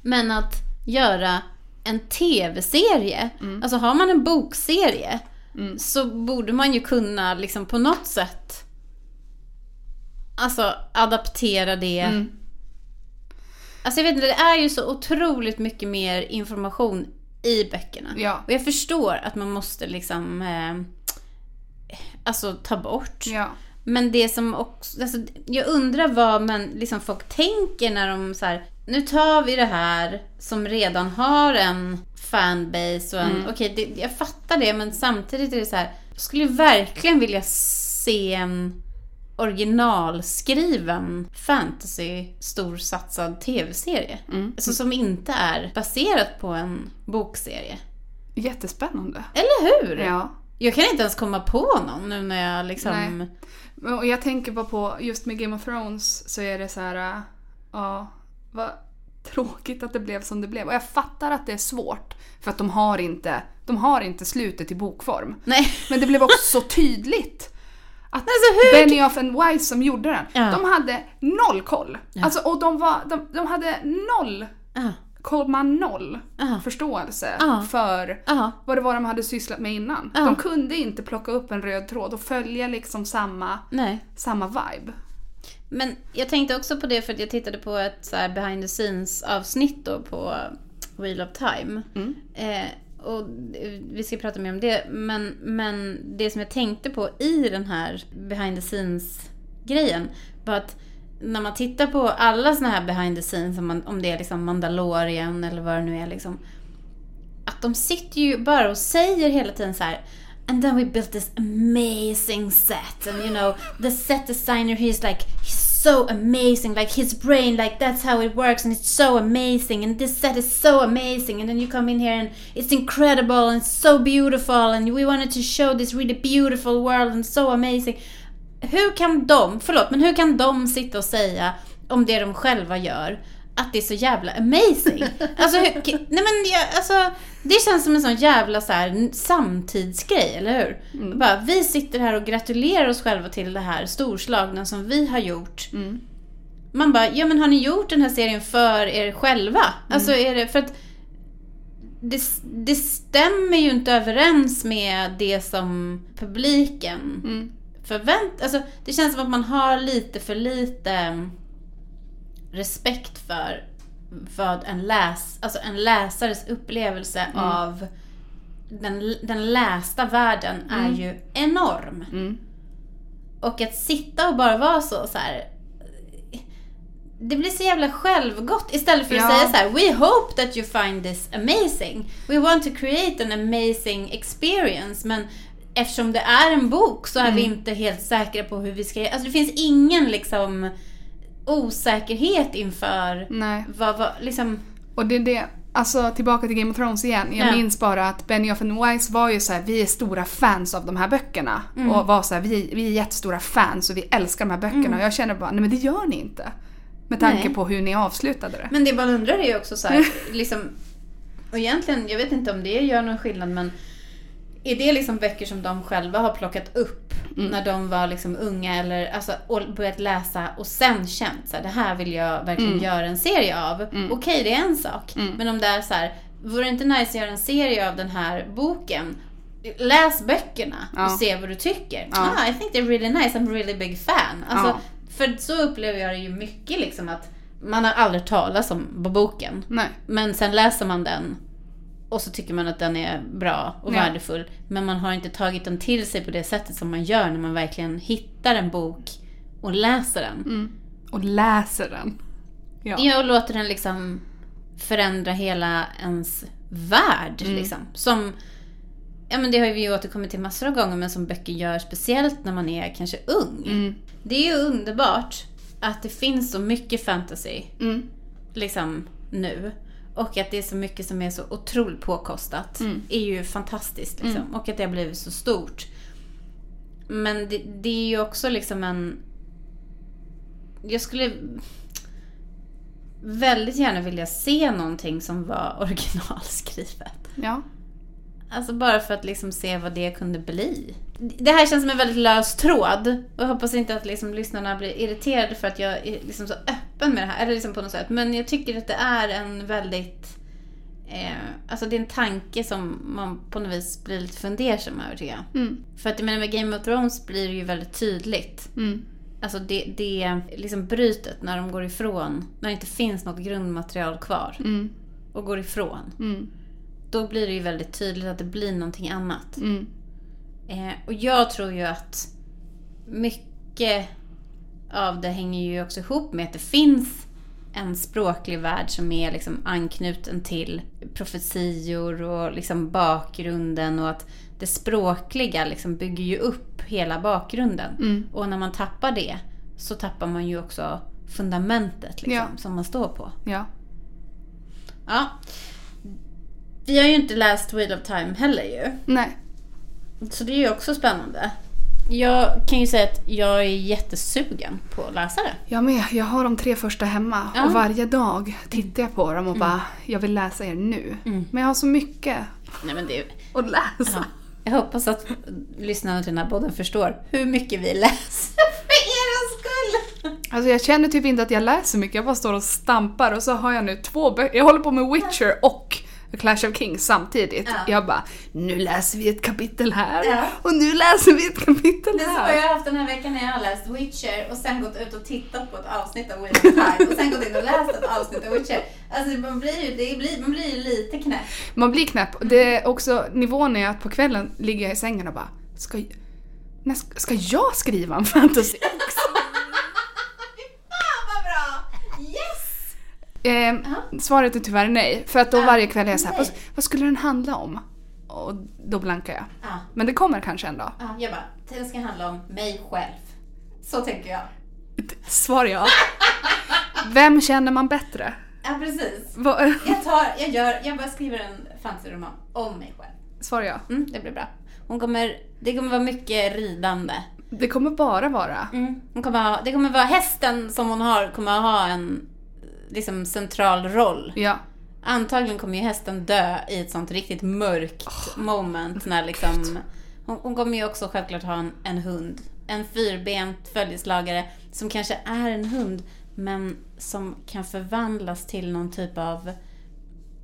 Men att göra en tv-serie,
Mm.
alltså har man en bokserie så borde man ju kunna liksom på något sätt Alltså adaptera det. Alltså jag vet inte, det är ju så otroligt mycket mer information i böckerna.
Ja.
Och jag förstår att man måste liksom eh, Alltså ta bort.
Ja.
Men det som också, alltså, jag undrar vad man, liksom, folk tänker när de så här, nu tar vi det här som redan har en fanbase och en,
Mm.
okej det, jag fattar det men samtidigt är det så här, jag skulle verkligen vilja se en originalskriven fantasy storsatsad tv-serie.
Mm.
Alltså, som inte är baserat på en bokserie.
Jättespännande.
Eller hur?
Ja.
Jag kan inte ens komma på någon nu när jag liksom...
Nej. Och jag tänker bara på, just med Game of Thrones så är det så här, äh, ja, vad tråkigt att det blev som det blev. Och jag fattar att det är svårt, för att de har inte, de har inte slutet i bokform.
Nej.
Men det blev också så tydligt att
Alltså hur-
Benioff and Weiss som gjorde den,
Ja.
de hade noll koll. Alltså, och de, var, de, de hade noll,
Ja.
komma noll
Ja.
förståelse
Ja.
för
Ja.
vad det var de hade sysslat med innan.
Ja.
De kunde inte plocka upp en röd tråd och följa liksom samma
Nej.
samma vibe.
Men jag tänkte också på det för att jag tittade på ett så här behind the scenes avsnitt då på Wheel of Time. Eh, och vi ska prata mer om det. Men, men det som jag tänkte på i den här behind the scenes grejen var att när man tittar på alla såna här behind the scenes, om, man, om det är liksom Mandalorian eller vad det nu är liksom att de sitter ju bara och säger hela tiden så här And then we built this amazing set and you know the set designer he's like he's so amazing like his brain like that's how it works and it's so amazing and this set is so amazing and then you come in here and it's incredible and so beautiful and we wanted to show this really beautiful world and so amazing hur kan de, förlåt, men hur kan de sitta och säga om det de själva gör att det är så jävla amazing? Alltså, hur, k- nej men jag, alltså, det känns som en sån jävla så här, n- samtidsgrej, eller hur? Bara, vi sitter här och gratulerar oss själva till det här storslagna som vi har gjort.
Mm.
Man bara, ja men har ni gjort den här serien för er själva? Alltså är det för att det, det stämmer ju inte överens med det som publiken
Mm.
förvänt... Alltså, det känns som att man har lite för lite mm, respekt för vad en, läs, alltså en läsares upplevelse av den, den lästa världen är ju enorm.
Mm.
Och att sitta och bara vara så, så här. Det blir så jävla självgott istället för att
Ja.
säga så här. We hope that you find this amazing. We want to create an amazing experience. Men eftersom det är en bok så är vi inte helt säkra på hur vi ska... Alltså det finns ingen liksom osäkerhet inför
Nej.
vad, vad liksom...
Och det är det, alltså tillbaka till Game of Thrones igen. Jag
Ja.
minns bara att Benioff and Weiss var ju så här, vi är stora fans av de här böckerna.
Mm.
Och var så här, vi, vi är jättestora fans och vi älskar de här böckerna. Och jag känner bara, nej men det gör ni inte. Med tanke
Mm. Nej.
på hur ni avslutade det.
Men det man undrar är ju också så här, liksom... Och egentligen, jag vet inte om det gör någon skillnad men är det liksom böcker som de själva har plockat upp
Mm.
när de var liksom unga eller alltså, och börjat läsa och sen känt så här, det här vill jag verkligen
Mm.
göra en serie av. Okej, det är en sak. Men om det är så här, vore det inte nice att göra en serie av den här boken? Läs böckerna
Ja.
och se vad du tycker.
Ja.
Ah, I think they're really nice, I'm a really big fan. Alltså,
Ja.
För så upplever jag det ju mycket liksom att man har aldrig talat om boken.
Nej.
Men sen läser man den och så tycker man att den är bra och
Ja.
värdefull. Men man har inte tagit den till sig på det sättet som man gör när man verkligen hittar en bok och läser den.
Och läser den. Mm. Ja.
Ja, och låter den liksom förändra hela ens värld.
Mm.
Liksom. Som, ja men det har ju vi återkommit till massor av gånger, men som böcker gör speciellt när man är kanske ung.
Mm.
Det är ju underbart att det finns så mycket fantasy
Mm.
liksom nu. Och att det är så mycket som är så otroligt påkostat. är ju fantastiskt liksom. Och att det har blivit så stort. Men det, det är ju också liksom en... Jag skulle väldigt gärna vilja se någonting som var originalskrivet.
Ja.
Alltså bara för att liksom se vad det kunde bli. Det här känns som en väldigt lös tråd. Och jag hoppas inte att liksom lyssnarna blir irriterade för att jag är liksom så öppen med det här. Eller liksom på något sätt. Men jag tycker att det är en väldigt... Eh, alltså det är en tanke som man på något vis blir lite fundersam över tycker jag.
Mm.
För att jag menar med Game of Thrones blir det ju väldigt tydligt.
Mm.
Alltså det, det liksom brytet när de går ifrån. När det inte finns något grundmaterial kvar.
Mm.
Och går ifrån.
Mm.
Då blir det ju väldigt tydligt att det blir någonting annat.
Mm.
Eh, och jag tror ju att mycket av det hänger ju också ihop med att det finns en språklig värld som är liksom anknuten till profetior och liksom bakgrunden och att det språkliga liksom bygger ju upp hela bakgrunden.
Mm.
Och när man tappar det så tappar man ju också fundamentet liksom,
Ja.
som man står på.
Ja.
Ja. Vi har ju inte läst Wheel of Time heller ju.
Nej.
Så det är ju också spännande. Jag kan ju säga att jag är jättesugen på att läsa det.
Jag med. Jag har de tre första hemma
Ja. Mm.
och varje dag tittar jag på dem och bara jag vill läsa er nu. Men jag har så mycket
Nej, men det är...
att läsa.
Jag hoppas att lyssnarna till den här podden förstår hur mycket vi läser för er skull.
Alltså jag känner typ inte att jag läser mycket, jag bara står och stampar och så har jag nu två böcker. Jag håller på med Witcher och A Clash of Kings samtidigt.
Ja.
Jag bara, nu läser vi ett kapitel här
Ja.
och nu läser vi ett kapitel
Det är så
här.
jag har haft den här veckan när jag har läst Witcher och sen gått ut och tittat på ett avsnitt av Wheel of Time och sen gått in och läst ett avsnitt av Witcher. Alltså man blir ju, det blir, man blir ju lite knäpp.
Man blir knäpp. Det är också, nivån är att på kvällen ligger jag i sängen och bara, ska, när, ska jag skriva en fantasy?
Fy fan Ah, vad bra! Yes!
Eh, Svaret är tyvärr nej, för att då
Ah,
varje kväll är jag såhär,
nej.
vad, vad skulle den handla om? Och då blankar jag.
Ja.
Men det kommer kanske en dag.
Ja, Ah, jag bara, den ska handla om mig själv. Så tänker jag.
Svar ja. Vem känner man bättre?
Ja, precis.
Va-
Jag, tar, jag, gör, jag bara skriver en fantasyroman om mig själv.
Svar ja.
Mm, det blir bra. Hon kommer, det kommer vara mycket ridande.
Det kommer bara vara.
Hon kommer ha, det kommer vara hästen som hon har, kommer ha en liksom, central roll.
Ja.
Antagligen kommer ju hästen dö i ett sånt riktigt mörkt moment när liksom... Hon, hon kommer ju också självklart ha en, en hund. En fyrbent följeslagare som kanske är en hund men som kan förvandlas till någon typ av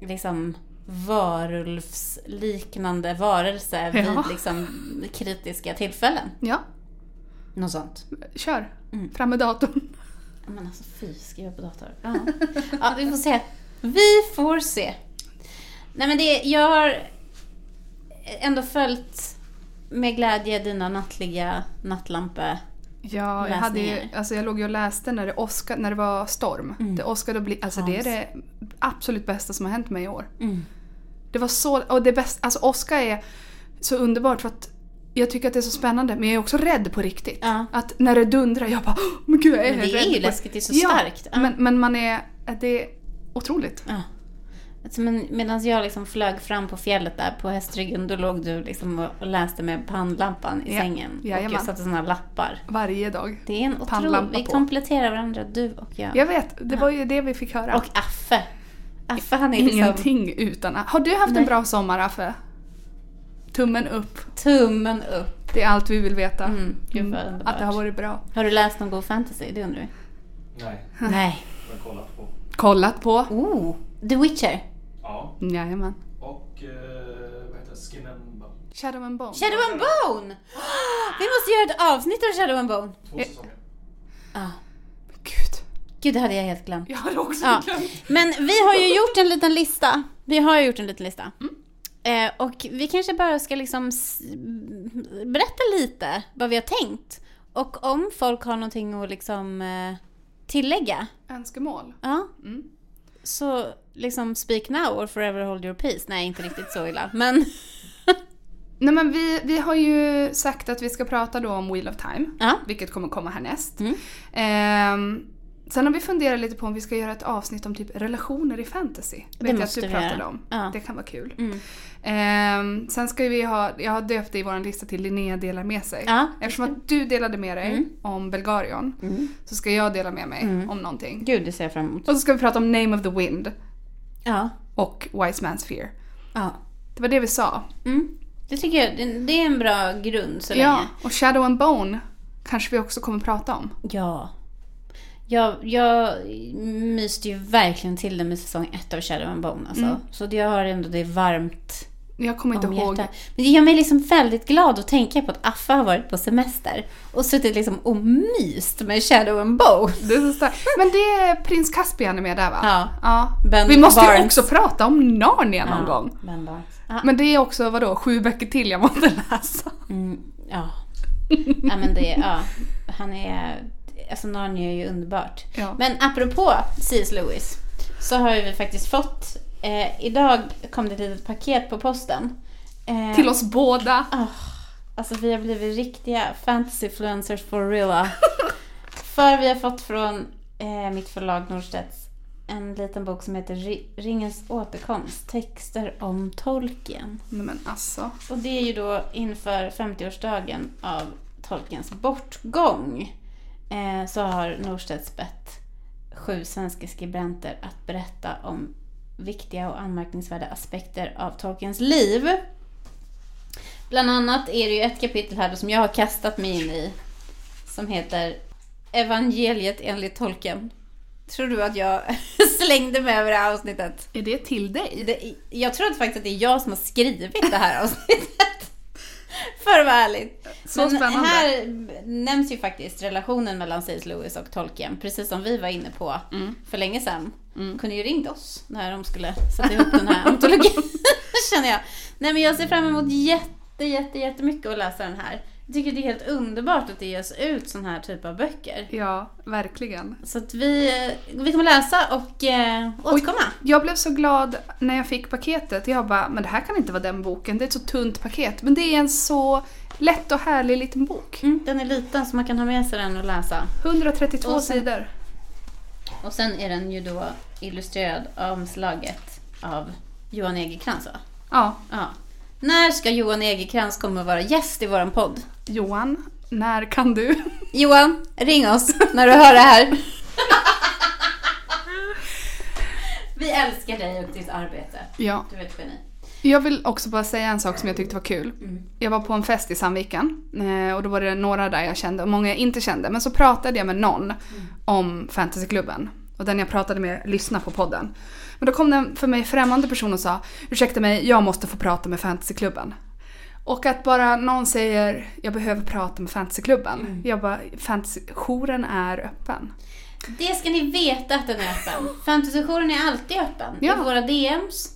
liksom varulvsliknande varelse vid
Ja.
liksom kritiska tillfällen.
Ja,
Något sånt.
kör.
Mm.
Fram med datorn.
Men alltså fy, skriva på dator. Ja. ja, vi får se. Vi får se. Nej men det, jag har ändå följt med glädje dina nattliga nattlampe.
Ja, jag, hade ju,
Läsningar. Mm.
alltså jag låg ju och läste när det, åska, när det var storm. Det åskade och bli, alltså det är det absolut bästa som har hänt mig i år. Det var så, och det bästa, alltså åska är så underbart för att jag tycker att det är så spännande men jag är också rädd på riktigt.
Ja.
Att när det dundrar, jag bara "Åh, men gud jag är
Men det
rädd
är ju
på
läskigt, det är så
ja,
starkt. Ja.
Men, men man är, det är otroligt.
Ja. Alltså, men medan jag liksom flög fram på fjället där på hästryggen, då låg du liksom och, och läste med pannlampan i
Ja.
sängen. Och jag
Jajamän.
satte sådana lappar.
Varje dag.
Det är en otrolig...
Pannlampa
Vi
på.
kompletterar varandra, du och jag.
Jag vet, det var ju det vi fick höra.
Och Affe. Affe han är liksom...
Ingenting utan... Har du haft en bra sommar Affe? Tummen upp.
Tummen upp.
Det är allt vi vill veta.
Mm, gud vad underbart.
Att det har varit bra.
Har du läst någon god fantasy? Det undrar vi.
Nej,
Nej.
jag har kollat på.
Kollat på.
Oh, The Witcher.
Ja,
Jajamän.
och eh, vad heter det? Skin and Bone.
Shadow and Bone.
Shadow and Bone! Vi måste göra ett avsnitt av Shadow and Bone.
Två säsonger.
Ah.
Gud.
Gud, det hade jag helt glömt.
Jag hade också
Ja.
glömt.
Men vi har ju gjort en liten lista. Vi har ju gjort en liten lista. Eh, och vi kanske bara ska liksom s- berätta lite vad vi har tänkt. Och om folk har någonting att liksom eh, tillägga.
Önskemål.
Ja.
Mm.
Så liksom speak now or forever hold your peace. Nej, inte riktigt så illa. Men
Nej men vi, vi har ju sagt att vi ska prata då om Wheel of Time.
ja.
Vilket kommer komma härnäst.
Mm.
Ehm, Sen har vi funderat lite på om vi ska göra ett avsnitt om typ relationer i fantasy.
Det
Vet jag
måste
att du
vi
pratade
göra.
om.
Ja.
Det kan vara kul.
Mm.
Ehm, sen ska vi ha, jag har döpt det i vår lista till Linnea delar med sig.
Ja. Mm.
Eftersom att du delade med dig om Belgarion så ska jag dela med mig om någonting.
Gud, det ser jag fram emot.
Och så ska vi prata om Name of the Wind
Ja.
och Wise Man's Fear.
ja.
Det var det vi sa.
Mm. Det tycker jag, det- det är en bra grund så länge.
Ja, och Shadow and Bone kanske vi också kommer prata om.
Ja. Jag, jag myste ju verkligen till det med säsong ett av Shadow and Bone. Alltså. Så det- jag har ändå det varmt
Mm. Jag kommer inte
om
ihåg.
hjärtat. Men det gör mig liksom väldigt glad att tänka på att Affa har varit på semester och suttit liksom och myst med Shadow and Bone.
Det är så starkt. Men det är Prins Caspian är med där va?
Ja.
ja.
Ben
Vi måste ju
Barnes.
också prata om Narnia någon gång.
Ja, men bara, ja,
Men det är också, vadå, sju böcker till jag måste läsa.
mm, ja. ja, men det, ja. Han är, alltså Narnia är ju underbart.
Ja.
Men apropå C.S. Lewis så har ju vi faktiskt fått, eh, idag kom det ett litet paket på posten. Eh,
Till oss båda.
Ah, alltså vi har blivit riktiga fantasyfluencers for real. För vi har fått från eh, mitt förlag Norstedts en liten bok som heter Ri- Ringens återkomst, texter om Tolkien.
Nej men alltså.
Och det är ju då inför 50-årsdagen av Tolkiens bortgång eh, så har Norstedts bett sju svenska skribenter att berätta om viktiga och anmärkningsvärda aspekter av Tolkiens liv. Bland annat är det ju ett kapitel här då som jag har kastat mig in i som heter Evangeliet enligt Tolkien. Tror du att jag slängde mig över det här avsnittet?
Är det till dig?
Det, jag tror att faktiskt att det är jag som har skrivit det här avsnittet. För att vara ärlig.
Så
Men
spännande.
här nämns ju faktiskt relationen mellan C.S. Lewis och Tolkien, precis som vi var inne på
Mm.
för länge sedan. Kunde ju ringt oss när de skulle sätta ihop den här antologin, känner jag. Nej men jag ser fram emot jätte, jätte, jättemycket att läsa den här. Jag tycker det är helt underbart att det ges ut sån här typ av böcker.
Ja, verkligen.
Så att vi, vi kommer läsa och eh, återkomma.
Jag blev så glad när jag fick paketet. Jag bara, men det här kan inte vara den boken. Det är ett så tunt paket. Men det är en så lätt och härlig liten bok.
Mm, den är liten så man kan ha med sig den och läsa.
132
Och sen-
sidor.
Och sen är den ju då illustrerad omslaget av Johan Egerkrans va?
Ja,
Ja. När ska Johan Egerkrans komma och vara gäst i våran podd?
Johan, när kan du?
Johan, ring oss när du hör det här. Vi älskar dig och ditt arbete.
Ja.
Du är ett geni.
Jag vill också bara säga en sak som jag tyckte var kul. Jag var på en fest i Sandviken eh, och då var det några där jag kände och många jag inte kände. Men så pratade jag med någon om fantasyklubben. Och den jag pratade med lyssnade på podden. Men då kom det en för mig främmande person och sa Ursäkta mig, jag måste få prata med fantasyklubben. Och att bara någon säger jag behöver prata med fantasyklubben. Jag bara, fantasy, jouren är öppen.
Det ska ni veta att den är öppen. Fantasyjouren är alltid öppen.
Ja.
I våra DMs.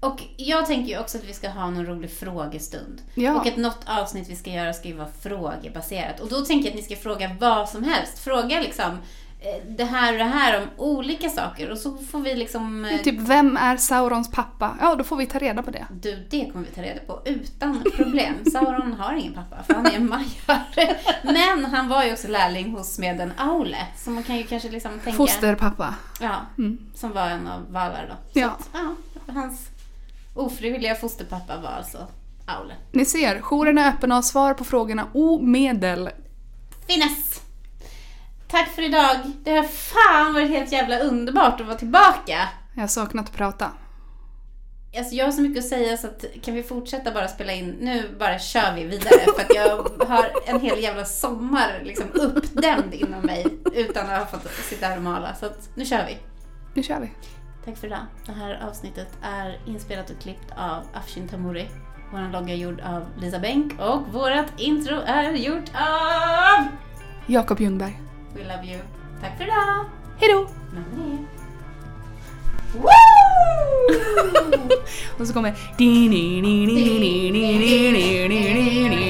Och jag tänker ju också att vi ska ha någon rolig frågestund.
Ja.
Och att något avsnitt vi ska göra ska ju vara frågebaserat. Och då tänker jag att ni ska fråga vad som helst. Fråga liksom eh, det här och det här om olika saker. Och så får vi liksom... eh,
Typ vem är Saurons pappa? Ja, då får vi ta reda på det.
Du, det kommer vi ta reda på utan problem. Sauron har ingen pappa, för han är en majare. Men han var ju också lärling hos smeden Aule. Så man kan ju kanske liksom tänka...
Fosterpappa.
Ja, som var en av Valar då. Så
Ja.
Att, ja, hans ofrivilliga fosterpappa var alltså Aule.
Ni ser, jouren är öppen och har svar på frågorna omedel.
Finnes! Tack för idag! Det har fan varit helt jävla underbart att vara tillbaka!
Jag har saknat att prata.
Alltså jag har så mycket att säga så att, kan vi fortsätta bara spela in? Nu bara kör vi vidare för att jag har en hel jävla sommar liksom uppdämd inom mig utan att ha fått sitta här och mala. Så att, nu kör vi!
Nu kör vi.
Tack för idag. Det här avsnittet är inspelat och klippt av Afshin Tamuri. Vår logga är gjord av Lisa Bänk och vårt intro är gjort av...
Jakob Ljungberg.
We love you. Tack för idag.
Hejdå!
Men det... Woo!
och så kommer...